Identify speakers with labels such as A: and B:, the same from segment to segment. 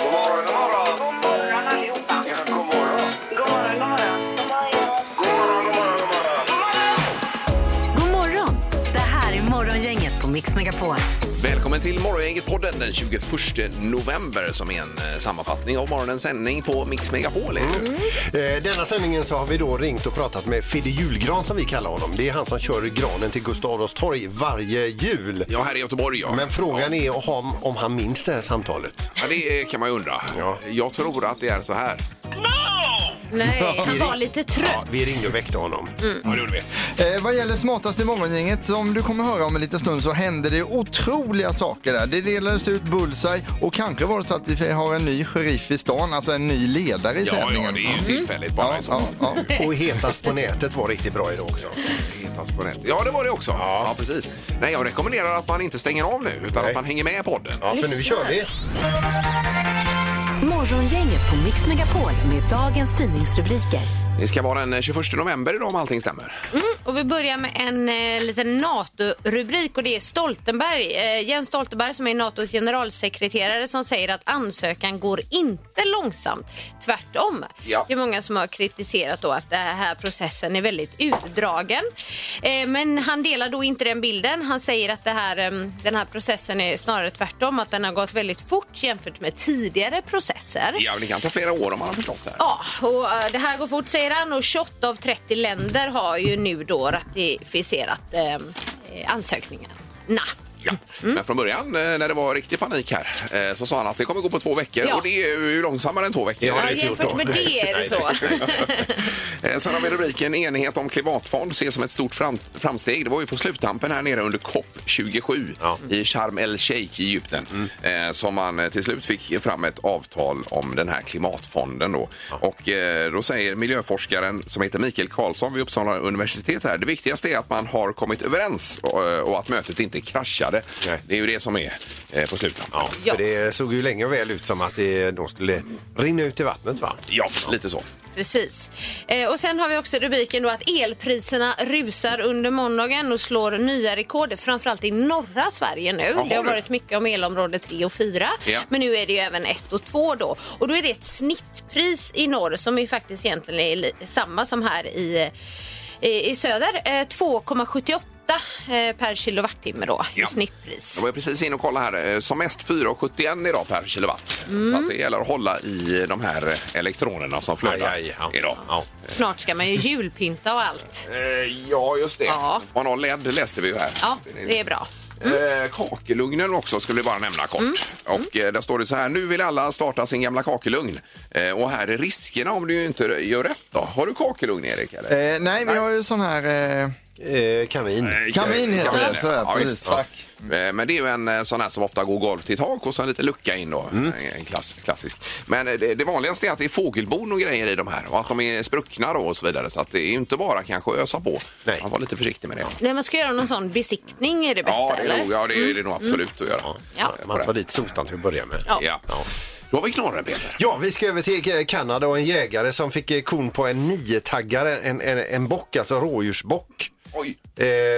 A: God morgon, god morgon. God morgon allihopa. Ja, god morgon. God morgon, god morgon. God morgon, god morgon, god morgon.
B: God morgon! Det här är Morgongänget på Mix Megapol.
C: Välkommen till Morgongänget-podden den 21 november som är en eh, sammanfattning av morgonens sändning på Mix Megapol. Mm.
D: Eh, Denna sändningen så har vi då ringt och pratat med Fidde Julgran som vi kallar honom. Det är han som kör granen till Gustav Adolfs torg varje jul.
C: Ja, här i Göteborg. Ja.
D: Men frågan är om, om han minns det här samtalet.
C: Ja, det eh, kan man ju undra.
D: Ja.
C: Jag tror att det är så här.
B: Nej, han var lite
D: Ja,
B: trött.
D: vi ringde och väckte honom.
E: Mm.
F: Eh, vad gäller smartaste morgongänget som du kommer höra om en liten stund så händer det otroliga saker där. Det delades ut bullseye och kanske var det så att vi har en ny sheriff i stan, alltså en ny ledare i
C: Ja, ja,
F: tävlingen. Mm.
C: det är ju tillfälligt bara.
F: Ja,
C: i så
F: ja,
C: fall.
F: ja.
D: Och Hetast på nätet var riktigt bra idag också.
C: Hetas på nät. Ja, det var det också. Ja. precis. Nej, jag rekommenderar att man inte stänger av nu utan att
D: Nej.
C: man hänger med i podden.
D: Ja, för nu kör vi.
B: Morgongänget på Mix Megapol med dagens tidningsrubriker.
C: Det ska vara den eh, 21 november idag om allting stämmer.
E: Mm, Och vi börjar med en eh, liten NATO-rubrik och det är Stoltenberg. Eh, Jens Stoltenberg som är NATOs generalsekreterare som säger att ansökan går inte långsamt. Tvärtom.
C: Ja.
E: Det är många som har kritiserat då att den här processen är väldigt utdragen. Eh, men han delar då inte den bilden. Han säger att det här, eh, den här processen är snarare tvärtom. Att den har gått väldigt fort jämfört med tidigare processer.
C: Ja, men det kan ta flera år om man har förstått det här.
E: Ja, och eh, det här går fort säger han och 28 av 30 länder har ju nu då ratificerat eh, eh, ansökningarna.
C: Ja. Men från början eh, när det var riktig panik här eh, så sa han att det kommer gå på två veckor
E: Ja.
C: och det är ju långsammare än två veckor.
E: Ja, jämfört med det är det så.
C: Eh, Sen har vi rubriken Enighet om klimatfond ses som ett stort fram framsteg. Det var ju på sluttampen här nere under COP27
D: Ja. Mm.
C: i Sharm el-Sheikh i Egypten eh, som man eh, till slut fick fram ett avtal om den här klimatfonden. Då. Och eh, då säger miljöforskaren som heter Mikael Karlsson vid Uppsala universitet här, det viktigaste är att man har kommit överens och, eh, och att mötet inte kraschade.
D: Nej.
C: Det är ju det som är eh, på sluttampen.
D: Ja,
E: Ja.
D: För det såg ju länge och väl ut som att det, de skulle rinna ut i vattnet va?
C: Ja, lite så.
E: Precis. Eh, och sen har vi också rubriken då att elpriserna rusar under måndagen och slår nya rekord, framförallt i norra Sverige nu.
C: Jaha,
E: det har
C: du.
E: varit mycket om elområde 3 och 4,
C: Ja.
E: men nu är det ju även 1 och 2 då. Och då är det ett snittpris i norr som är faktiskt egentligen är li- samma som här i, i, i söder, eh, 2,78 eh, per kilowattimme då
C: Ja.
E: i snittpris.
C: Jag var ju precis inne och kollade här. Eh, Som mest 4,71 idag per kilowatt. Så
E: Mm.
C: att det gäller att hålla i de här eh, elektronerna som flödar
D: Aj, aj, ja.
C: idag.
D: Ja.
E: Snart ska man ju julpynta och allt.
C: Eh, Ja, just det.
E: Ja.
C: Man har LED läste vi ju här.
E: Ja, det är bra. Mm.
C: Eh, Kakelugnen också skulle jag bara nämna kort. Och eh, där står det så här, nu vill alla starta sin gamla kakelugn. Eh, Och här är riskerna om du inte gör rätt då. Har du kakelugn Erik? Eller?
F: Eh, nej, vi har ju sån här... Eh,
D: Eh, kamin.
F: kamin heter
C: Kamin,
F: det. Så är det,
C: ja,
F: precis.
C: visst.
F: Tack.
C: Eh, Men det är ju en eh, sån här som ofta går golv till tak och sen lite lucka in då.
D: Mm.
C: En klass, klassisk. Men eh, det, det vanligaste är att det är fågelbon och grejer i de här och att de är spruckna då och så vidare. Så att det är ju inte bara kanske att ösa på.
D: Nej.
C: Man var lite försiktig med det.
E: När man ska göra någon sån besiktning är det bästa,
C: Ja, det är
E: eller? Mm.
C: nog, ja, det är det nog absolut att göra.
E: Ja.
D: Mm. Man tar dit sotan till att börja med.
E: Ja.
C: Ja. Då har vi knorren Peter.
D: Ja, vi ska över till eh, Kanada och en jägare som fick eh, korn på en niotaggare, en, en, en bock, alltså rådjursbock.
C: Oj.
D: Eh, eh,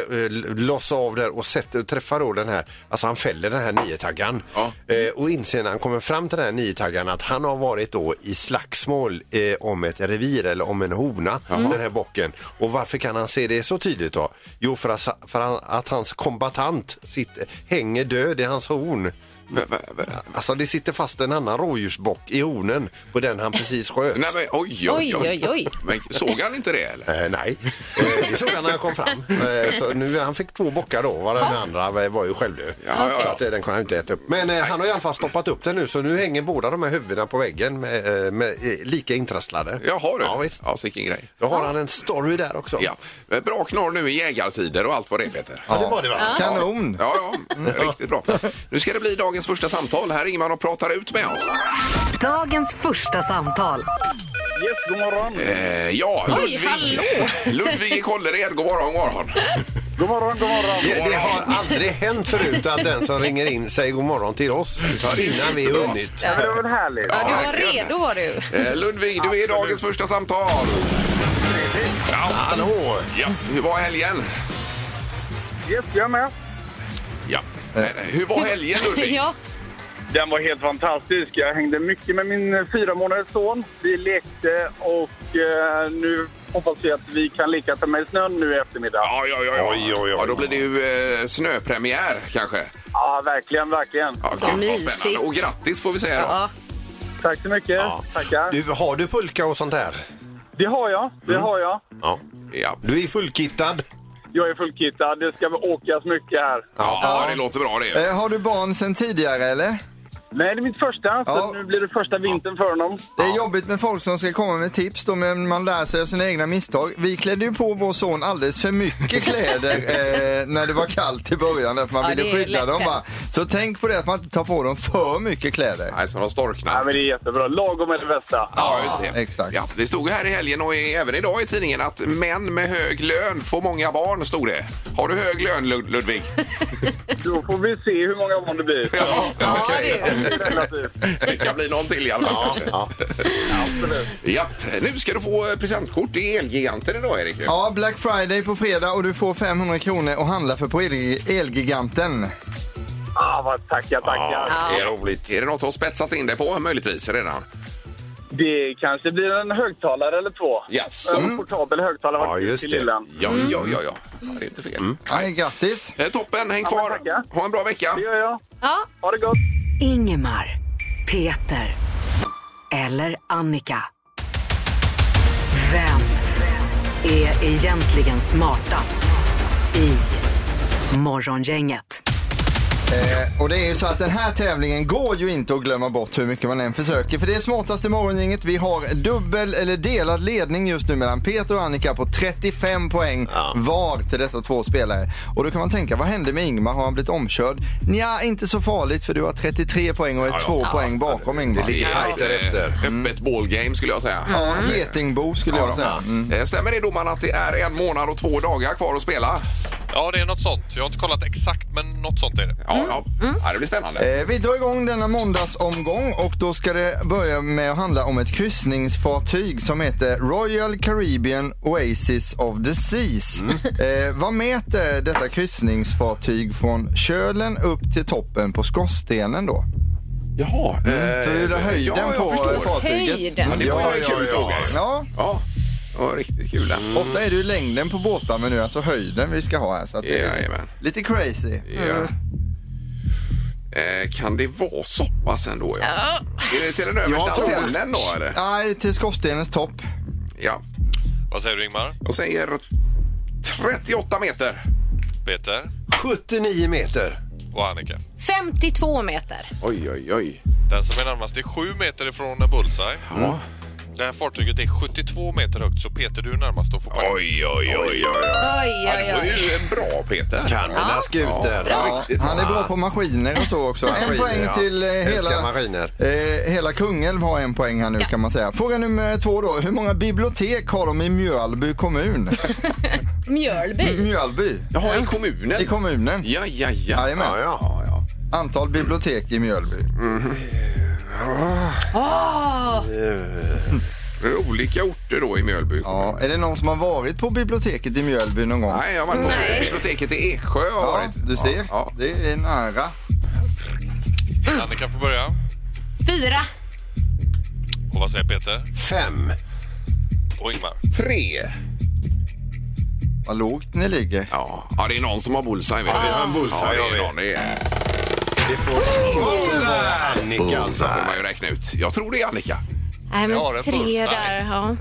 D: lossa av där och sätter och träffar då den här, alltså han fäller den här niotaggaren.
C: Ja.
D: Eh, och inser när han kommer fram till den här niotaggaren att han har varit då i slagsmål eh, om ett revir eller om en hona, den här bocken. Och varför kan han se det så tydligt då? Jo, för att, för att hans kombatant sitter, hänger död i hans horn.
C: V- v- v-
D: Alltså det sitter fast en annan rådjursbock i hornen på den han precis sköt.
C: Nej, men, oj, oj, oj.
E: Oj, oj, oj.
C: Men såg han inte det eller?
D: Eh, nej, eh, det såg han när han kom fram. Eh, så nu, han fick två bockar då, var den andra eh, var ju självdöd.
C: Ja, ja, ja.
D: Så att, eh, den kunde han inte äta upp. Men eh, han har i alla fall stoppat upp den nu så nu hänger båda de här huvudena på väggen med, eh, med, eh, lika intrasslade.
C: Jaha du.
D: Ja, visst.
C: Ja, sicken grej.
D: Då har han en story där också.
C: Ja. Eh, Bra knorr nu i jägartider och allt vad det är Peter.
D: Ja, det var det va?
F: Kanon!
C: Ja, ja, riktigt bra. Nu ska det bli dagens första samtal. Här ringer man och pratar ut med oss.
B: Dagens första samtal.
A: Yes, god morgon.
C: Eh, ja,
E: Oj,
C: Ludvig.
E: hallå!
C: Ludvig i Kållered, god morgon, god morgon.
A: God morgon, god morgon.
D: Det, det har aldrig hänt förut att den som ringer in säger god morgon till oss innan vi hunnit.
A: Ja, Det var väl härligt.
E: Ja, du var
C: verkligen.
E: redo var du.
C: Eh, Ludvig, du är dagens första samtal. Ja,
D: Hallå!
C: ja. Hur var helgen?
A: Yes, jag med.
C: Ja. Eh, Hur var helgen, Ludvig?
E: Ja,
A: Den var helt fantastisk. Jag hängde mycket med min eh, fyra månaders son. Vi lekte och eh, nu hoppas vi att vi kan leka ta med snön nu i eftermiddag. Ja,
C: Ja, ja, ja, ja.
D: Oj, oj, oj.
C: ja, då blir det ju eh, snöpremiär kanske.
A: verkligen, verkligen.
C: Ja,
E: Så
C: gud, vad
E: mysigt.
C: spännande. Och grattis får vi säga då.
E: ja.
A: Tack så mycket. Tackar.
D: Du, har du pulka och sånt Mm. där?
A: Det har jag, det har jag.
D: Ja.
C: Mm. Ja.
D: Du är fullkittad?
A: Jag är fullkittad. Det ska åkas mycket här.
C: Ja, det låter bra det. ju.
F: Eh, har du barn sen tidigare eller?
A: Nej, det är mitt första, så
F: Ja.
A: nu blir det första vintern för honom.
F: Det är jobbigt med folk som ska komma med tips då, men man lär sig av sina egna misstag. Vi klädde ju på vår son alldeles för mycket kläder eh, när det var kallt i början därför man
E: Ja, det
F: ville
E: är
F: skydda
E: lätt
F: dem.
E: hänt.
F: Va? Så tänk på det att man inte tar på dem för mycket kläder.
C: Nej, som var storknar.
A: Ja, men det är jättebra. Lagom är det bästa.
C: Ja, just det.
F: Exakt.
C: Ja, det stod ju här i helgen och i- även idag i tidningen att män med hög lön får många barn, stod det. Har du hög lön, Lud- Ludvig?
A: Då får vi se hur många barn det blir.
C: Ja,
E: Ja,
C: okej.
E: du.
A: Relativt.
C: Det kan bli någon till i alla fall. Ja,
A: Absolut.
C: Nu ska du få eh, presentkort. Det är Elgiganten idag, Erik. Ja.
F: Ja, Black Friday på fredag och du får 500 kronor och handla för på El- Elgiganten.
A: Ah, vad tackar, tackar.
E: Ja.
D: Det är roligt.
C: Är det något du har spetsat in dig på möjligtvis redan?
A: Det kanske blir en högtalare eller två.
C: Jaså?
A: En portabel högtalare
D: Ja,
A: faktiskt
D: just
A: till
D: det.
A: lillen.
C: Mm. Ja, ja, ja, ja. ja. Det är inte fel.
F: Nej, grattis!
C: Eh, Toppen, häng
A: men
C: kvar.
A: tackar.
C: Ha en bra vecka.
A: Det gör jag.
E: ja.
A: Ha det gott.
B: Ingemar, Peter eller Annika. Vem är egentligen smartast i Morgongänget?
F: Eh, och det är ju så att den här tävlingen går ju inte att glömma bort hur mycket man än försöker. För det är smartaste morgongänget. Vi har dubbel eller delad ledning just nu mellan Peter och Annika på 35 poäng var till dessa två spelare. Och då kan man tänka, vad hände med Ingmar? Har han blivit omkörd? Nja, inte så farligt för du har 33 poäng och är två poäng bakom Ingmar.
D: ligger tajt
C: eh,
D: därefter.
C: Öppet ballgame skulle jag säga.
F: Ja, Getingbo skulle jag säga. Mm.
C: Eh, Stämmer det domaren att det är en månad och två dagar kvar att spela?
G: Ja, det är något sånt. Jag har inte kollat exakt, men något sånt är det.
C: Ja, ja.
D: Mm.
C: ja det blir spännande.
F: Eh, Vi drar igång denna måndagsomgång och då ska det börja med att handla om ett kryssningsfartyg som heter Royal Caribbean Oasis of the Seas.
C: Mm.
F: Eh, vad mäter detta kryssningsfartyg från kölen upp till toppen på skorstenen då?
C: Jaha.
F: Mm, Så hur är höjden
C: Eh, ja, jag
F: på
C: förstår.
F: fartyget?
E: Höjden.
C: Ja, det var ju en kul fråga.
F: Ja, Mm.
C: Ja, det var riktigt kul. den.
F: ofta är det ju längden på båtar men nu är det alltså höjden vi ska ha här. Så att det är
C: Jajamän.
F: lite crazy. Mm.
C: Ja. Eh, Kan det vara så pass ändå? Ja. Är det till den översta
F: tror det.
C: antennen då eller?
F: Nej, till skorstenens topp.
C: Ja.
G: Vad säger du Ingmar?
C: Jag säger 38 meter.
G: Peter
D: 79 meter.
G: och Annika.
E: 52 meter.
C: Oj, oj, oj.
G: Den som är närmast är 7 meter ifrån en bullseye.
C: Ja.
G: Det här fartyget är 72 meter högt, så Peter du är närmast att få poäng.
C: Oj, oj, oj, oj.
E: Oj,
C: Ja, det
E: oj,
C: var
E: oj.
C: ju bra Peter.
D: Kan mina skutor.
F: Ja, han är bra på maskiner och så också. En
D: Maskiner,
F: poäng
D: ja.
F: till eh,
D: Älskar
F: hela,
D: maskiner.
F: eh, hela Kungälv har en poäng här nu kan man säga. Fråga nummer två då. Hur många bibliotek har de i Mjölby kommun?
C: Mm.
E: Mjölby.
F: Mjölby?
C: Jaha, i kommunen?
F: I kommunen.
C: Ja, ja, ja.
F: Jajamän.
C: ja, ja, ja. Mm.
F: Antal bibliotek i Mjölby.
C: Det är olika orter då i Mjölby.
F: Ja, är det någon som har varit på biblioteket i Mjölby någon gång?
C: Nej, jag har varit på
E: Nej.
C: biblioteket i Eksjö. har jag
F: Ja,
C: varit.
F: du ser.
C: Ja, ja.
F: Det är nära.
G: Mm. Annika får börja.
E: Fyra.
G: Och vad säger Peter?
D: Fem.
G: Och Ingmar?
C: Tre.
F: Vad lågt ni ligger.
C: Ja. ja, det är någon som har bullseye. Vet du.
D: vi har en bullseye,
C: Ja, det är
D: har vi.
C: någon. Det är,
D: Det får inte vara Annika alltså.
C: får man ju räkna ut. Jag tror det är Annika.
E: Nej,
G: Jag har
E: men
G: en
E: tre
G: bullseye.
E: där. Ja.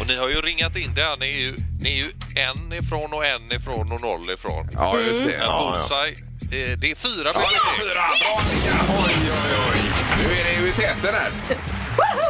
G: Och ni har ju ringat in det här. Ni är ju, ni är ju en ifrån och en ifrån och noll ifrån.
C: Ja, just det.
G: En
C: Ja, ja.
G: bullseye, eh, det är fyra
C: Ja,
G: bibliotek.
C: fyra! Bra, Annika! Oj, oj, oj. Nu är det ju i täten här.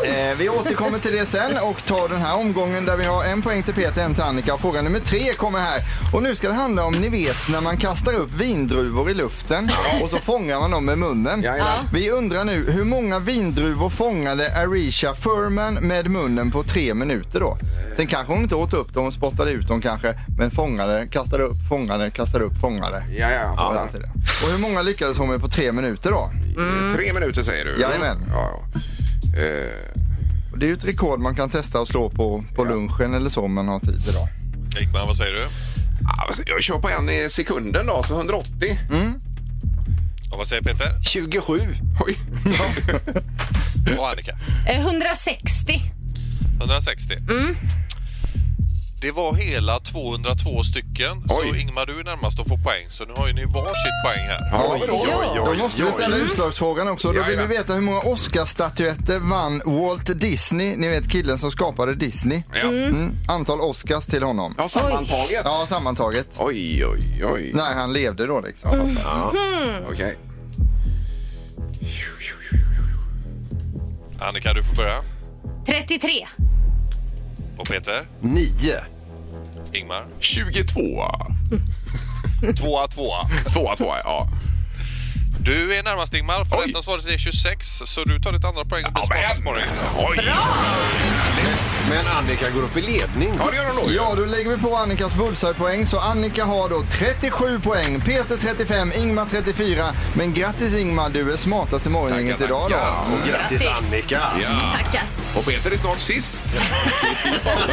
F: Eh, vi återkommer till det sen och tar den här omgången där vi har en poäng till Peter, en till Annika. Fråga nummer tre kommer här. Och nu ska det handla om, ni vet, när man kastar upp vindruvor i luften och så fångar man dem med munnen.
H: Jajamän.
F: Vi undrar nu, hur många vindruvor fångade Arisha Furman med munnen på tre minuter då? Sen kanske hon inte åt upp dem, spottade ut dem kanske, men fångade, kastade upp, fångade, kastade upp, fångade.
C: Ja, ja,
F: Så var
C: fattar.
F: det till det. Och hur många lyckades hon med på tre minuter då?
C: Tre minuter säger du?
F: Jajamän.
C: Ja, ja. Eh,
F: Och Det är ju ett rekord man kan testa att slå på, på lunchen eller så om man har tid idag.
G: Ekman, vad säger du?
C: ah, vad säger- jag kör på en i sekunden då, så 180.
G: Och vad säger Peter?
D: 27.
C: Oj.
G: Och Annika?
E: Eh, 160.
G: 160. Det var hela 202 stycken. Så
C: Oj.
G: Ingmar, du är närmast att få poäng. Så nu har ju ni varsitt poäng här.
C: Ja,
F: Oj,
C: vadå?
E: oj,
F: Då måste vi ställa utslagsfrågan också. Då vill vi
C: Jajamän.
F: veta hur många Oscarsstatyetter vann Walt Disney, ni vet killen som skapade Disney.
C: Ja.
F: Mm. Antal Oscars till honom.
C: ja, sammantaget.
F: Ja, sammantaget.
C: Oj, oj, oj.
F: När han levde då liksom.
E: Hmm.
C: Okej.
G: Annika, du får börja.
E: 33.
G: Och Peter?
D: 9.
G: Ingmar?
C: 22.
G: Tvåa, tvåa.
C: Tvåa, tvåa, ja.
G: Du är närmast Ingmar, för
C: Oj.
G: rätta svaret är 26. Så du tar ditt andra poäng och blir
C: Ja,
G: smartast på
C: men...
G: morgonen.
C: Oj!
D: Men Annika går upp i ledning.
C: Ja, det gör de nog.
F: Ja, då lägger vi på Annikas bullseye-poäng. Så Annika har då 37 poäng, Peter 35, Ingmar 34. Men grattis Ingmar, du är smartast i morgongänget
C: Tackar,
F: idag
C: tackar.
F: då.
D: Och grattis Annika.
C: Ja.
E: Tackar.
C: Och Peter är snart sist.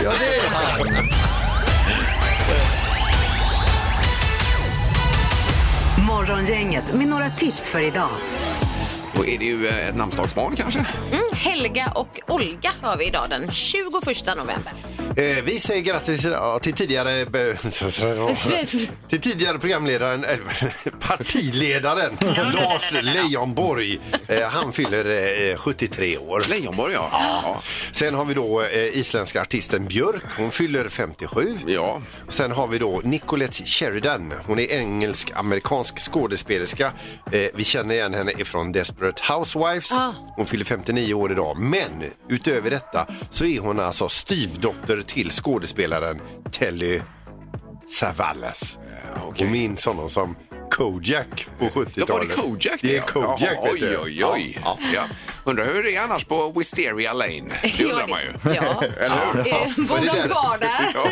F: Ja, det är han.
B: Morgongänget med några tips för idag.
C: Då är det ju eh, ett namnsdagsbarn kanske.
E: Mm, Helga och Olga har vi idag den 21 november.
D: Eh, vi säger grattis ja, till tidigare... be- till tidigare programledaren, eller partiledaren Lars Leijonborg. Eh, han fyller eh, 73 år.
C: Leijonborg, ja. Ja.
D: Sen har vi då eh, isländska artisten Björk. Hon fyller 57.
C: ja.
D: Sen har vi då Nicolette Sheridan. Hon är engelsk-amerikansk skådespelerska. Eh, vi känner igen henne ifrån Desperate Housewives.
E: Ah.
D: Hon fyller 59 år idag. Men utöver detta så är hon alltså styvdotter till skådespelaren Telly Savalas. Och minns honom som Kojak på 70-talet.
C: Eh, Ja, var det Kojak?
D: Det är
C: ja?
D: Kojak,
C: Jaha,
D: vet
C: oj,
D: du.
C: oj, oj.
D: Ja, ja.
C: Ja. Undrar hur det är annars på Wisteria Lane. Det undrar man ju.
E: Ja.
C: Eller hur?
E: Eh, Bor de kvar där?
D: Ja,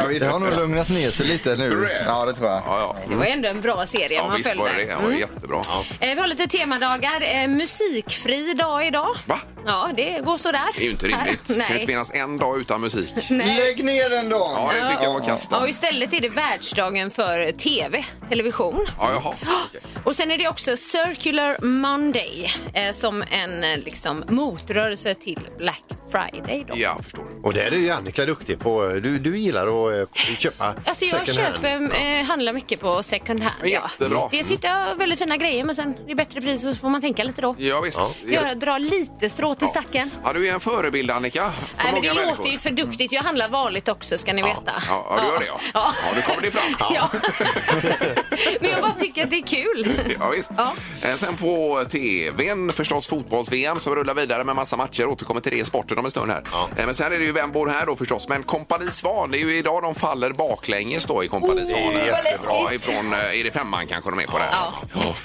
D: ja, visst.
F: Det har nog lugnat ner sig lite
C: Tror du
F: nu.
C: det?
F: Ja, det tror jag.
C: Ja, ja.
E: Det var ändå en bra serie
C: ja
E: man
C: visst
E: följde.
C: var det det. Ja, det var
E: Mm.
C: jättebra.
E: Eh, Vi har lite temadagar. Eh, Musikfri dag idag.
C: Va?
E: Ja, det går sådär.
C: Det är ju inte rimligt. Det kan ju inte
E: Nej.
C: finnas en dag utan musik.
E: Nej.
F: Lägg ner den då!
C: Ja, det tycker jag var kasst.
E: Ja, och istället är det världsdagen för TV, television.
C: Ja, jaha. Okej.
E: Och sen är det också Circular Monday eh, som en eh, liksom, motrörelse till Black Friday.
C: Ja,
E: Då.
C: jag förstår.
D: Och där är ju Annika duktig på. eh, Du, du gillar att eh, köpa
E: Alltså jag
D: second hand.
E: köper, eh, handlar mycket på second hand.
C: Ja, jättebra.
E: Det sitter väldigt fina grejer men sen det är bättre pris så får man tänka lite då.
C: Ja, visst.
E: Göra, dra lite strå till stacken.
C: Ja, du är en förebild, Annika. För
E: Nej, men det
C: många människor.
E: låter ju för duktigt. Jag handlar vanligt också ska ni veta.
C: ja, ja, du gör det, ja. Ja, nu kommer det fram.
E: Ja. men jag bara tycker att det är kul.
C: Ja, visst.
E: Ja.
C: Eh, Sen på tvn förstås fotbolls-VM som rullar vidare med massa matcher. Återkommer till det i sporten om en stund här. Eh, Men sen är det ju Vem bor här då förstås. Men Kompani Svan, det är ju idag de faller baklänges då i Kompani Svan.
D: vad
C: Jättebra.
E: Oh, läskigt.
C: Ifrån, eh, är det femman kanske de är på där?
E: Ja.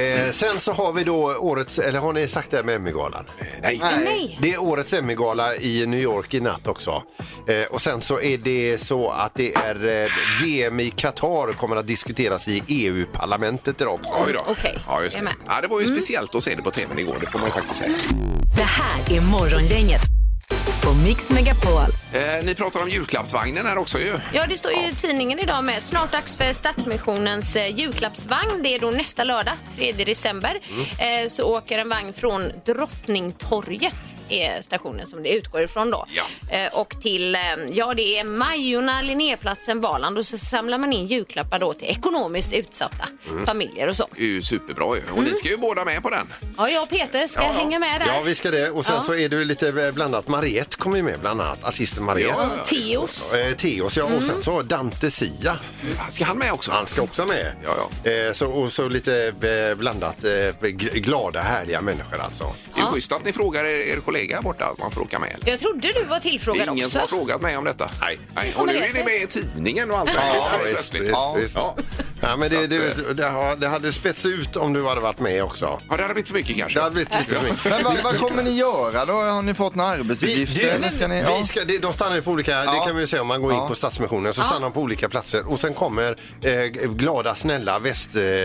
D: Eh, sen så har vi då årets, eller har ni sagt det här med Emmy-galan?
C: Eh, Nej.
E: Nej.
D: Det är årets Emmy-gala i New York i natt också. Eh, och sen så är det så att det är eh, VM i Qatar kommer att diskuteras i EU-parlamentet idag också.
C: Oj då.
E: Okej,
C: Ja, just
E: jag är
C: det.
E: med. Mm.
C: Ja, det var ju speciellt att se det på tvn igår, det får man ju faktiskt säga.
B: Det här är Morgongänget på Mix Megapol.
C: Eh, ni pratar om julklappsvagnen här också ju.
E: Ja, det står ju i tidningen idag med. Snart dags för Stadsmissionens eh, julklappsvagn. Det är då nästa lördag, 3 december.
C: Mm.
E: Eh, så åker en vagn från Drottningtorget är stationen som det utgår ifrån då.
C: Ja.
E: Eh, och till, eh, ja det är Majorna, Linnéplatsen, Valand och så samlar man in julklappar då till ekonomiskt utsatta
C: Mm.
E: familjer och så. Mm.
C: Det är ju superbra ju. Och ni ska ju båda med på den.
E: Ja, jag och Peter ska
C: Ja, ja.
E: hänga med där.
D: Ja, vi ska det. Och sen
E: Ja.
D: så är det ju lite eh, blandat. Mariette kommer ju med, bland annat artisten Mariette.
C: Ja,
E: Teos.
D: Eh, Theoz, ja. Och sen så Dante Sia.
C: Ska han med också?
D: Han ska också med.
C: Ja, ja.
D: Eh, så, och så lite eh, blandat. Eh, gl- glada, härliga människor alltså.
C: Det är ju schysst att ni frågar er, er kollega borta att man får åka med.
E: Jag trodde du var
C: Det
E: tillfrågad
C: är ingen
E: också.
C: som har frågat mig om detta. Nej. Nej. Och
E: kommer
C: nu
E: det
C: är ni
E: sig?
C: med i tidningen och allt.
D: Ja,
C: det
D: visst, visst, visst.
C: Ja.
D: Ja, men
C: Så
D: det,
C: att, eh,
D: det, det, har- det hade spets ut om du hade varit med också.
C: Ja, det hade blivit för mycket kanske.
D: Det hade blivit lite för mycket.
F: Men vad, vad kommer ni göra då? Har ni fått några arbetsuppgifter? eller ska ni, ja.
D: Vi ska, det, de stannar ju på olika, det
F: Ja.
D: kan vi ju säga om man går in
F: Ja.
D: på Stadsmissionen, så stannar de på olika platser och sen kommer eh, glada, snälla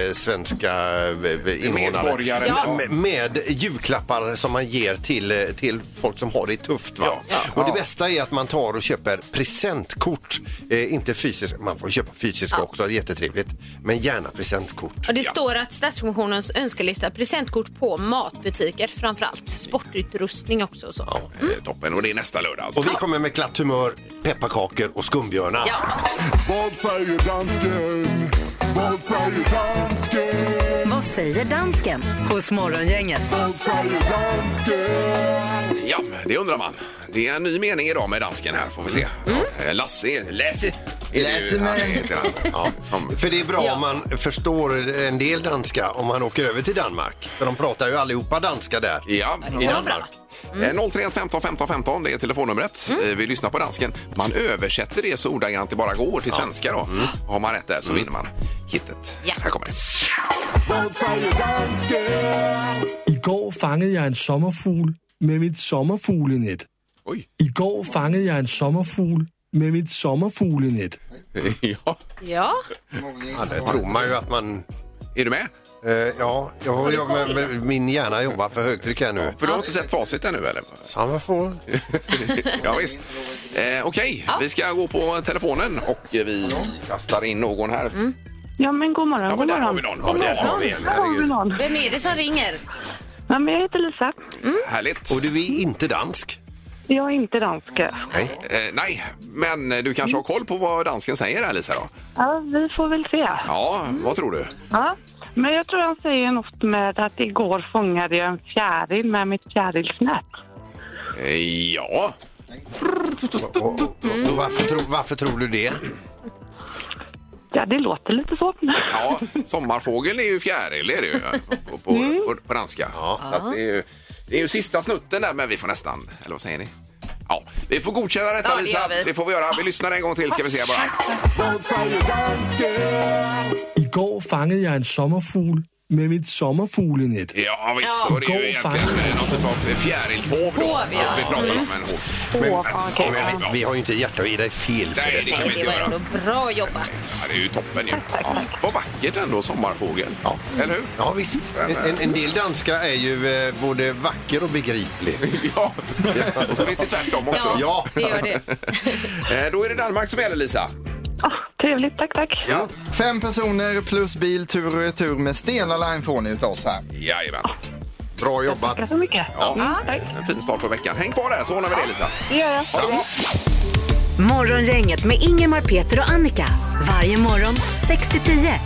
D: västsvenska eh, invånare
C: Medborgare.
D: Ja. med, med julklappar som man ger till, eh, till folk som har det tufft. Va? Och det bästa är att man tar och köper presentkort, eh, inte fysiskt, man får köpa fysiska också, det är jättetrevligt, men gärna presentkort.
E: Och det står att Stadsmissionens önskelista presentkort på matbutiker framförallt. Sportutrustning också och så. Ja.
F: Mm.
C: eh, Toppen. Och det är nästa lördag alltså.
D: Och vi kommer med glatt humör, pepparkakor och skumbjörnar.
I: Vad säger dansken? Vad säger dansken?
B: Vad säger dansken hos Morgongänget?
I: Vad säger dansken?
C: Ja, det undrar man. Det är en ny mening idag med dansken här, får vi se.
E: Mm.
C: Ja, eh, Lasse, Lasse. är det ju-
F: Lasse,
C: ja,
F: men-
C: det heter han. Ja, som,
D: För det är bra om man förstår en del danska om man åker över till Danmark. För de pratar ju allihopa danska där.
C: ja, i Danmark. Mm. 031 15 15 15, det är telefonnumret.
E: Mm.
C: Eh, Vi lyssnar på dansken. Man översätter det så ordagrant det bara går till svenska. Då. Har man rätt där så vinner man kittet.
E: Mm. Ja.
C: Här kommer det.
I: Vad säger dansken?
H: Igår fangede jeg en sommerfugl med mit sommerfuglenet.
C: Oj.
H: Igår fangede jeg en sommerfugl med mit sommerfuglenet.
C: Ja.
E: ja.
D: Ja, det tror man ju att man...
C: Är du med?
D: Eh, ja, jag, jag, men- men min hjärna jobbar för högtryck här nu.
C: För du har inte sett facit ännu eller?
D: Samma får.
C: Ja, visst. Eh, Okej, vi ska gå på telefonen och vi kastar in någon här.
H: Mm. Ja, men god morgon.
C: Ja, men där har vi någon. Ja, där har vi en. Herregud.
E: Vem är det som ringer?
H: Ja, men jag heter Lisa.
C: Härligt.
D: Och du är inte dansk.
H: Jag är inte danska.
C: Nej. Eh, nej, men eh, du kanske har koll på vad dansken säger här Lisa då?
H: Ja, vi får väl se.
C: Ja, vad tror du?
H: Ja. Men jag tror han säger något med att igår fångade jag en fjäril med mitt fjärilsnät.
C: Eh, ja.
D: Och, och varför, tro, varför tror du det?
H: Ja, det låter lite så.
C: ja, sommarfågeln är ju fjäril är det ju på, på,
H: Mm.
C: på, på danska. Så att det, är ju, det är ju sista snutten där, men vi får nästan, eller vad säger ni? Ja, vi får godkänna detta
E: Ja, det
C: Lisa.
E: gör vi.
C: Det får vi göra. Vi lyssnar en gång till ska vi se bara.
I: Vad säger dansken?
H: Igår fangede jag en sommerfugl med mitt sommerfuglenet.
C: Ja visst,
E: Ja.
C: och det är ju egentligen eh, någon typ av fjärilshov då.
E: Hov, ja. Mm.
C: Vi pratar om en hov. Men,
D: Ja, men vi, vi har ju inte hjärta att ge dig fel för
C: Nej, det
D: detta.
C: kan vi
E: Det
C: inte
E: var
C: göra.
E: ändå bra jobbat.
C: Ja, det är ju toppen ju. Ja. Vad vackert ändå, sommarfågel.
D: Ja.
C: Eller hur? eh,
D: Ja, visst. En, en del danska är ju eh, både vacker och begriplig.
C: Ja. Och så finns det tvärtom också.
D: Ja.
E: det gör det.
C: Eh, Då är det Danmark som gäller, Lisa.
H: trevligt, tack, tack.
C: Ja.
F: Fem personer plus bil tur och retur med Stena Line får ni utav oss här.
C: Jajamän.
D: Bra jobbat.
H: så mycket. Mm,
C: Ja. En fin start på veckan. Häng kvar där så ordnar vi det, Lisa.
H: Det gör jag.
C: Ha det bra.
B: Morgongänget med Ingemar, Peter och Annika. Varje morgon 6 till 10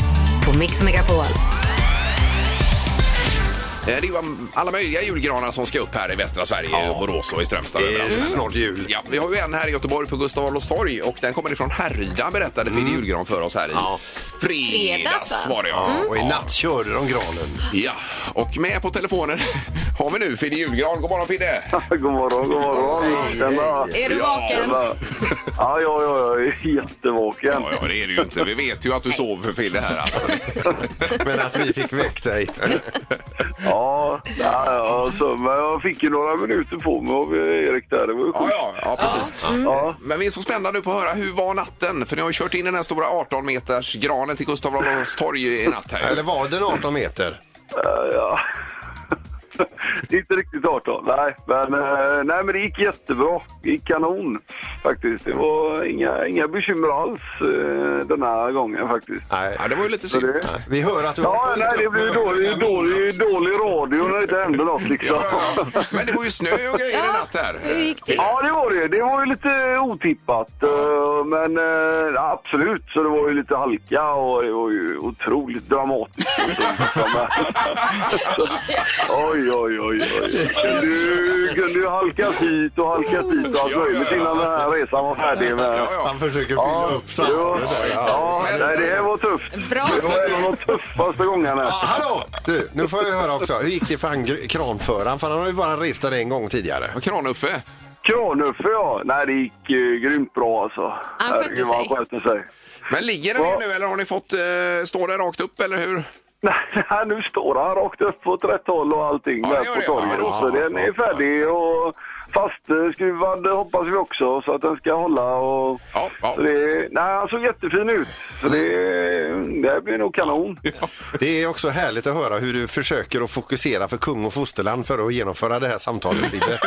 B: på Mix Megapol.
C: Eh, Det är ju alla möjliga julgranar som ska upp här i västra Sverige, och Borås och i Strömstad.
D: Det är
C: överallt.
D: snart jul.
C: Ja, vi har ju en här i Göteborg på Gustav Adolfs torg och den kommer ifrån Härryda berättade Finn Julgran för oss här i
D: Mm. Ja.
C: fredags
E: Fredags, va?
C: var det ja.
D: Ja, och i natt körde de granen.
C: ja. Och med på telefonen har vi nu Finn Julgran. God morgon Fidde!
A: God morgon, god morgon. Tjena.
E: Är du
C: Ja,
E: vaken?
A: Tjena. Ja, ja, ja, jag är jättevaken.
C: Ja, ja, det är det ju inte. Vi vet ju att du sover Fidde här. Alltså.
D: Men att vi fick väckt dig.
A: Ja, ja, ja, så, men jag fick ju några minuter på mig av Erik där. Det var ju
C: Ja,
A: sjukt.
C: ja, ja, precis.
A: Ja.
C: Men vi är så spända nu på att höra hur var natten? För ni har ju kört in den här stora 18 meters granen till Gustav Adolfs torg i natt här.
D: Eller var den 18 meter?
A: Ja, ja. inte riktigt 18, nej. Men, eh, nej. men det gick jättebra. Det gick kanon faktiskt. Det var inga, inga bekymmer alls eh, den här gången faktiskt.
D: Nej.
C: Ja, det var ju lite synd.
A: det-
D: Nej. Vi hör att du
A: Ja, nej, det blir dålig, dålig, dålig radio när det inte händer något liksom.
C: Ja, ja. Men det var ju snö och grejer i
E: Ja,
C: natt här.
E: hur gick det?
A: Ja, det var det. Det var ju lite otippat. eh, Men eh, absolut, så det var ju lite halka och det var ju otroligt dramatiskt. Så, men- oj, oj, oj, oj, oj. Men Du kunde ju halkat hit och halkat dit och allt möjligt innan den här resan var färdig. Med.
D: Han försöker fylla upp
A: Ja,
D: samtalet. där.
A: ja,
D: Men-
A: nej, det här var tufft.
E: Bra.
A: Det var en av de tuffaste gångerna.
D: Ja, hallå! Du, nu får vi höra också. Hur gick det för han gr- kranföraren? För han har ju bara rest där en gång tidigare.
C: Kranuffe.
A: Kranuffe, ja. Nej, det gick eh, grymt bra alltså.
E: Han skötte
A: Herregud, vad
E: sig.
A: Han skötte sig.
C: Men ligger den ner nu eller har ni fått eh, stå där rakt upp eller hur?
A: Nej, nu står han rakt upp åt rätt håll och allting
C: Ja, det
A: där
C: gör
A: på
C: det.
A: torget.
C: Ja,
A: så
C: ja,
A: den
C: ja,
A: är färdig och fastskruvad hoppas vi också så att den ska hålla. Och...
C: Ja, ja.
A: Så det... Nej, han såg jättefin ut. Så det... det här blir nog kanon.
D: Det är också härligt att höra hur du försöker att fokusera för kung och fosterland för att genomföra det här samtalet. Lite.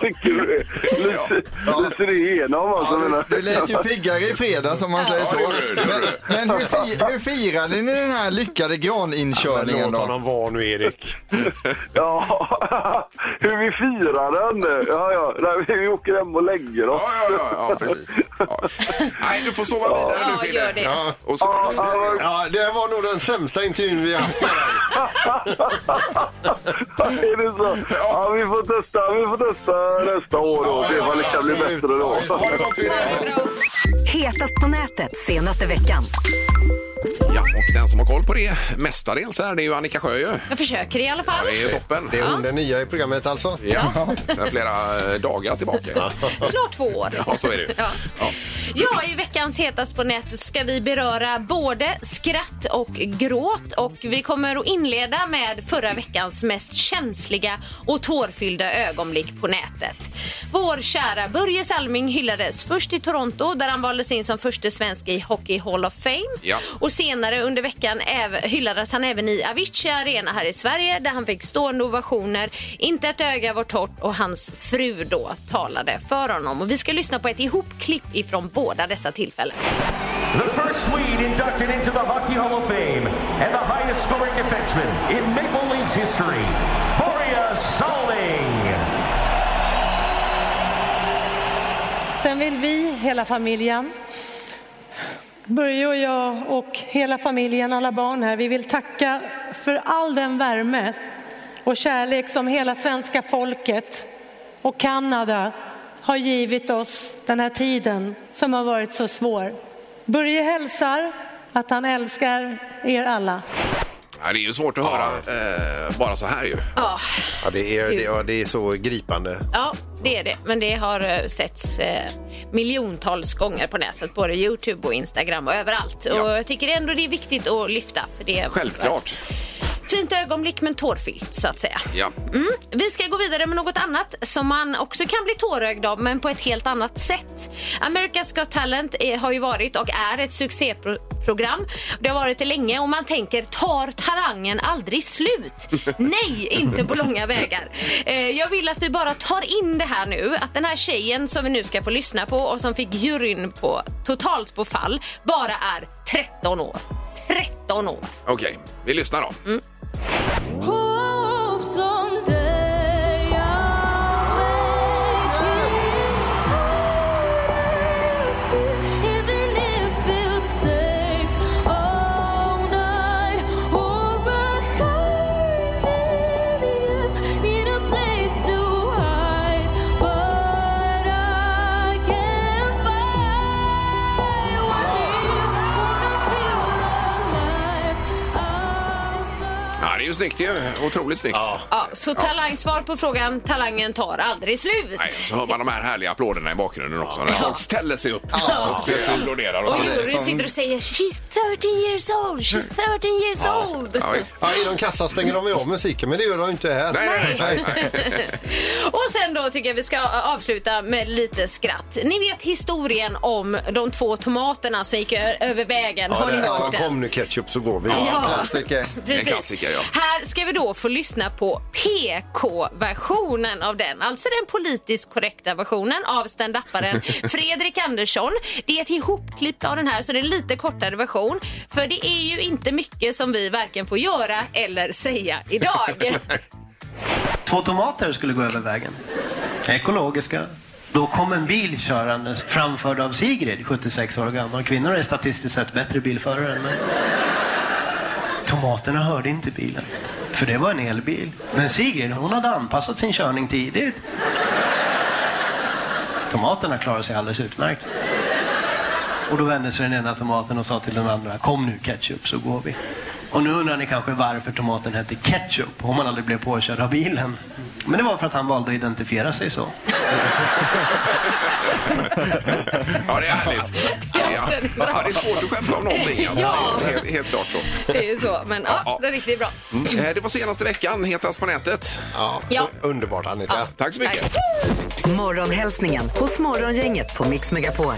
A: Tycker du det? Lyser- Lyser det igenom alltså?
F: Ja,
A: menar-
F: du, du lät ju piggare i fredags om man säger så. Men, men hur, fi, hur firade ni den här lyckade graninkörningen
D: Låt
F: då?
D: honom vara nu, Erik.
A: Ja, hur vi firar den. Ja, ja. Nej, vi åker hem och lägger oss.
C: Ja, ja, ja, ja precis. Ja. Nej, du får sova vidare nu
E: Ja,
C: Fille.
E: gör det.
D: Ja,
C: Och så,
D: ja, det här var nog den sämsta intervjun vi haft.
A: Är det så? Ja, vi får testa, vi får testa nästa år då. Se om det kan bli bättre då.
C: ha det gott Fille.
B: Hetast på nätet senaste veckan.
C: Ja, och den som har koll på det mestadels här, det är ju Annika Sjö ju.
E: Jag försöker i alla
C: Ja,
E: fall.
C: det är ju toppen.
D: Det är hon den nya i programmet alltså.
C: Ja, sedan flera eh, dagar tillbaka.
E: Snart två år.
C: Ja, så är det ju.
E: Ja.
C: Ja.
E: Ja, i veckans Hetast på nätet ska vi beröra både skratt och gråt. Och vi kommer att inleda med förra veckans mest känsliga och tårfyllda ögonblick på nätet. Vår kära Börje Salming hyllades först i Toronto där han valdes in som första svensk i Hockey Hall of Fame.
C: Ja.
E: Och senare under veckan äv- hyllades han även i Avicii Arena här i Sverige där han fick stående ovationer. Inte ett öga var torrt och hans fru då talade för honom. Och vi ska lyssna på ett ihopklipp ifrån båda dessa tillfällen.
J: The first Swede inducted into the Hockey Hall of Fame and the highest scoring defenseman in Maple Leafs history, Boria Salling.
H: Sen vill vi, hela familjen, Börje och jag och hela familjen, alla barn här, vi vill tacka för all den värme och kärlek som hela svenska folket och Kanada har givit oss den här tiden som har varit så svår. Börje hälsar att han älskar er alla.
C: Ja, det är ju svårt att höra eh, bara så här ju.
E: Ja,
D: Ja, det, är, det, ja, det är så gripande.
E: ja det är det. Men det har eh, setts eh, miljontals gånger på nätet, både Youtube och Instagram och överallt. Och jag tycker ändå det är viktigt att lyfta. För det är
C: Självklart.
E: Fint ögonblick men tårfyllt så att säga.
C: Ja.
E: Mm. Vi ska gå vidare med något annat som man också kan bli tårögd av men på ett helt annat sätt. America's Got Talent eh, har ju varit och är ett succéprogram. Det har varit det länge och man tänker tar tarangen aldrig slut? Nej, inte på långa vägar. Eh, Jag vill att vi bara tar in det här nu att den här tjejen som vi nu ska få lyssna på och som fick juryn på totalt på fall bara är 13 år. 13 år.
C: Okej, vi lyssnar då. Ja, det är ju snyggt ju. Otroligt snyggt.
E: Ja, så talang, svar på frågan talangen tar aldrig slut.
C: Nej, så hör man de här härliga applåderna i bakgrunden också. När folk ställer sig upp och eh, applåderar och
E: Och
C: så.
E: juryn sitter och säger “She's 13 years old, she's 13 years old”.
C: Ja, visst.
D: Ja, I de kassa stänger de ju av musiken, men det gör de inte här.
C: Nej, nej, nej.
E: Och sen då tycker jag vi ska avsluta med lite skratt. Ni vet historien om de två tomaterna som gick ö- över vägen.
D: Ja,
E: Har ni
D: det,
E: hört
D: kom,
E: den?
D: kom nu ketchup så går vi.
F: Klassiker.
E: Precis.
C: En klassiker, ja.
E: Här ska vi då få lyssna på PK-versionen av den. Alltså den politiskt korrekta versionen av standuparen Fredrik Andersson. Det är ett ihopklipp av den här, så det är en lite kortare version. För det är ju inte mycket som vi varken får göra eller säga idag.
J: Två tomater skulle gå över vägen. Ekologiska. Då kom en bil körandes framförd av Sigrid, 76 år gammal. Kvinnor är statistiskt sett bättre bilförare än män.
K: Tomaterna hörde inte bilen. För det var en elbil. Men Sigrid, hon hade anpassat sin körning tidigt. Tomaterna klarade sig alldeles utmärkt. Och då vände sig den ena tomaten och sa till den andra, kom nu ketchup så går vi. Och nu undrar ni kanske varför tomaten hette ketchup om han aldrig blev påkörd av bilen. Men det var för att han valde att identifiera sig så.
C: Ja, det är härligt. Ja, ja, det är svårt att skämta om någonting. Alltså.
E: Ja.
C: Helt, helt klart så.
E: Det är ju så. Men ja, det är riktigt bra.
C: Mm. Eh, Det var senaste veckan, Hetast på nätet.
E: Ja.
D: Underbart, Annika.
C: Tack så mycket.
B: Morgonhälsningen hos Morgongänget på Mix Megapol.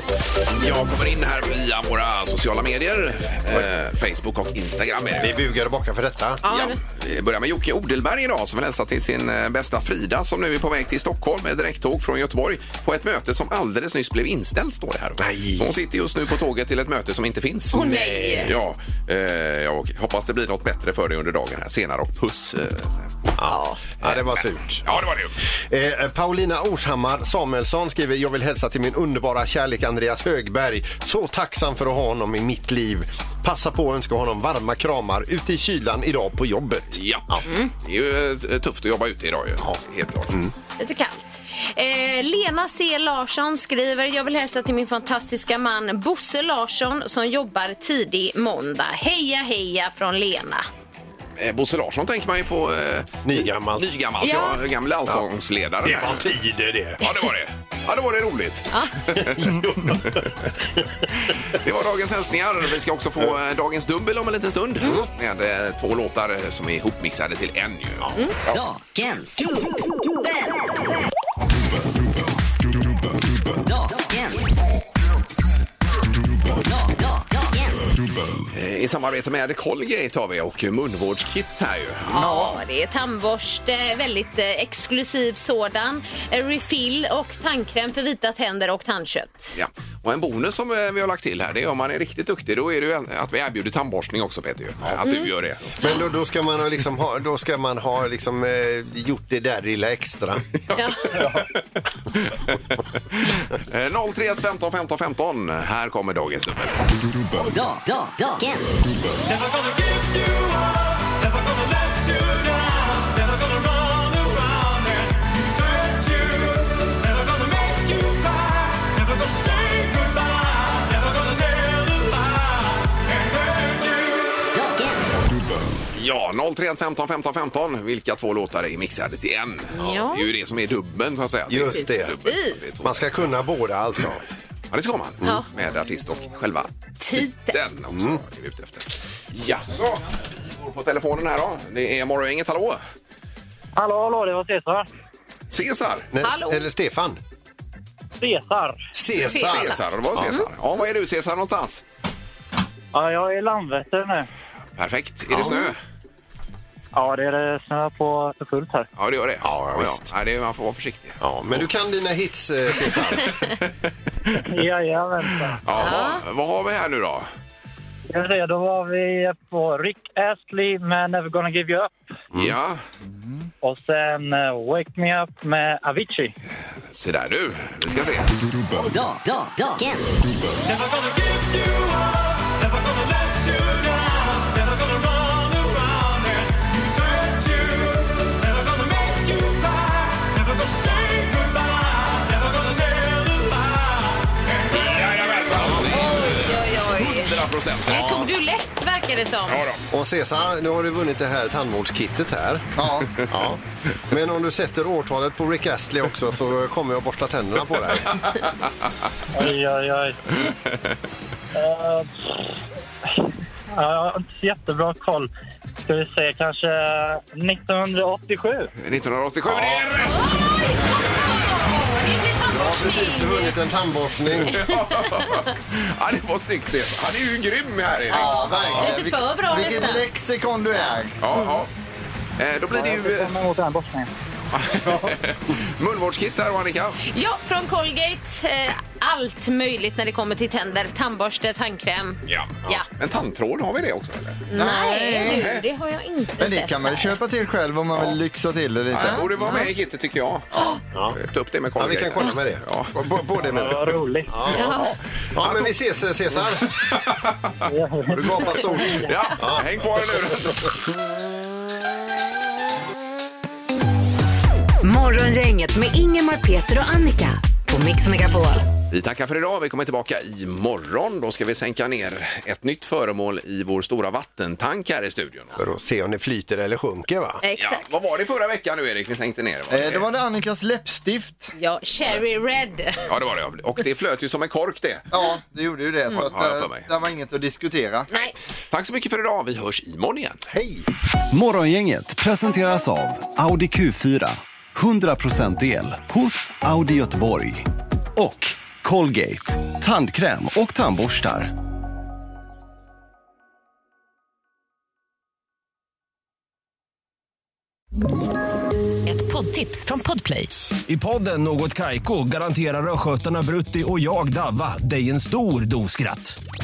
C: Jag kommer in här via våra sociala medier. Eh, Facebook och Instagram. Är det.
D: Vi bugar och bockar för detta.
C: Ja, vi börjar med Jocke Odelberg idag som vill hälsa till sin eh, bästa Frida som nu är på väg till Stockholm med direkttåg från Göteborg på ett möte som alldeles nyss blev inställt står det här. Så Hon sitter just nu på tåget till ett möte som inte finns.
E: Åh, nej.
C: Ja, eh, jag hoppas det blir något bättre för dig under dagen här senare och puss. Eh,
D: Ja. det var surt.
C: Ja, det var
D: det. Eh, Paulina Orshammar Samuelsson skriver Jag vill hälsa till min underbara kärlek Andreas Högberg. Så tacksam för att ha honom i mitt liv. Passa på att önska honom varma kramar ute i kylan idag på jobbet.
C: Ja. Det är ju eh, tufft att jobba ute idag ju. Helt Mm. klart.
E: Lite kallt. Eh, Lena C Larsson skriver Jag vill hälsa till min fantastiska man Bosse Larsson som jobbar tidig måndag. Heja heja från Lena.
C: Eh, Bosse Larsson tänker man ju på. Eh,
D: Nygammalt.
C: Nygammalt, ja.
E: Ja.
C: Gamla allsångsledaren.
D: Det var tider det.
C: Ja, det var det. Ja, det var det roligt. det var dagens hälsningar. Vi ska också få eh, dagens dubbel om en liten stund. Med eh, två låtar som är ihopmixade till en. Ju. Ja. Ja.
L: Dagens
C: Mm.
L: Dagens
C: Eh, I samarbete med Colgate har vi och munvårdskit här ju.
E: Ja, det är tandborste, väldigt eh, exklusiv sådan, eh, refill och tandkräm för vita tänder och tandkött.
C: Ja. Och en bonus som eh, vi har lagt till här, det är om man är riktigt duktig, då är det ju en- att vi erbjuder tandborstning också Peter. ju. Att du gör det.
D: Men då, då ska man ha, liksom, ha, då ska man ha liksom, eh, gjort det där lilla extra.
C: Eh, 031 15 15 15. Här kommer dagens dubbel. Ja, 031 15 15 15. Vilka två låtar är mixade till en?
E: Ja.
C: Det är ju det som är dubben så att säga.
D: Just det.
E: Precis.
D: Man ska kunna båda alltså.
C: Ja, det ska man.
E: Ja.
C: Med artist och själva titeln också.
D: Mm.
C: Är vi ute efter. Jaså, vi går på telefonen här då. Det är Morgongänget, hallå?
M: Hallå, hallå, det var Cesar.
C: Cesar?
D: Nej,
M: Hallå.
D: Eller Stefan?
M: Cesar.
C: Cesar. Cesar, det var Cesar. Ja, var är du Cesar någonstans?
M: Ja, jag är i Landvetter nu.
C: Perfekt. Är det snö?
M: Ja, det är snö på för fullt här.
C: Ja, det gör det. Ja, ja, Nej, det är, man får vara försiktig.
D: Ja, men du kan dina hits, eh, Cesar.
M: Mm. Jajamensan.
C: Jaha, vad har vi här nu då?
M: Ska vi se, Då var vi på Rick Astley med Never gonna give you up.
C: Mm. Ja,
M: Och sen eh, Wake me up med Avicii.
C: se där du. Vi ska se.
M: Eh,
E: Oj, oj.
C: 100 procent.
E: Det tog du lätt verkar det som.
D: Och Cesar, nu har du vunnit det här tandvårdskittet här. Ja. ja. Men om du sätter årtalet på Rick Astley också så kommer jag borsta tänderna på dig.
M: Oj, oj, oj. Eh, ja, jag har inte så jättebra koll. Ska vi se, kanske eh, 1987?
C: 1987, det är rätt!
D: Jag har precis vunnit en tandborstning.
C: Ja, det var snyggt det. Han är ju grym här Erik.
F: Ja, verkligen.
E: Lite för bra
F: Vilket
E: nästan.
F: lexikon du är. Mm.
C: Ja, ja. Eh, Då blir det
M: Jag
C: ju...
M: ser
C: eh,
M: fram emot den borstningen.
C: Munvårdskit där och Annika.
E: Ja, från Colgate. Eh, allt möjligt när det kommer till tänder. Tandborste, tandkräm.
C: Ja.
E: Ja.
C: En tandtråd, har vi det också? Eller?
E: Nej, du, det har jag inte
F: Men det
E: sett.
F: kan man ju köpa till sjv om man vill lyxa till det lite. Mm.
C: Ja, det borde vara med i kittet tycker jag. Ja. Ta upp det med Colgate.
D: Ja, vi kan kolla med det.
C: Ja.
D: Både med
M: Vad roligt.
D: Ja, ja. ja, men vi ses eh, Cesar. Har Du gapar stort.
C: Ja, häng kvar nu.
B: Morgongänget med Ingemar, Peter och Annika på Mix Megapol.
C: Vi tackar för idag. Vi kommer tillbaka imorgon. Då ska vi sänka ner ett nytt föremål i vår stora vattentank här i studion.
D: För att se om det flyter eller sjunker va?
E: Exakt.
C: Vad var det förra veckan nu Erik vi sänkte ner? Var
F: Eh, Då var det Annikas läppstift.
E: Ja, Cherry Red.
C: Ja, det var det. Och det flöt ju som en kork det.
F: Ja, det gjorde ju det. Så att,
C: Har jag för
F: eh,
C: mig.
F: där var inget att diskutera.
E: Nej.
C: Tack så mycket för idag. Vi hörs imorgon igen. Hej!
N: Morgongänget presenteras av Audi Q4. 100% el hos Audi Göteborg. Och Colgate. Tandkräm och tandborstar.
O: Ett poddtips från Podplay.
P: I podden Något Kaiko garanterar östgötarna Brutti och jag, Davva, dig en stor dos skratt.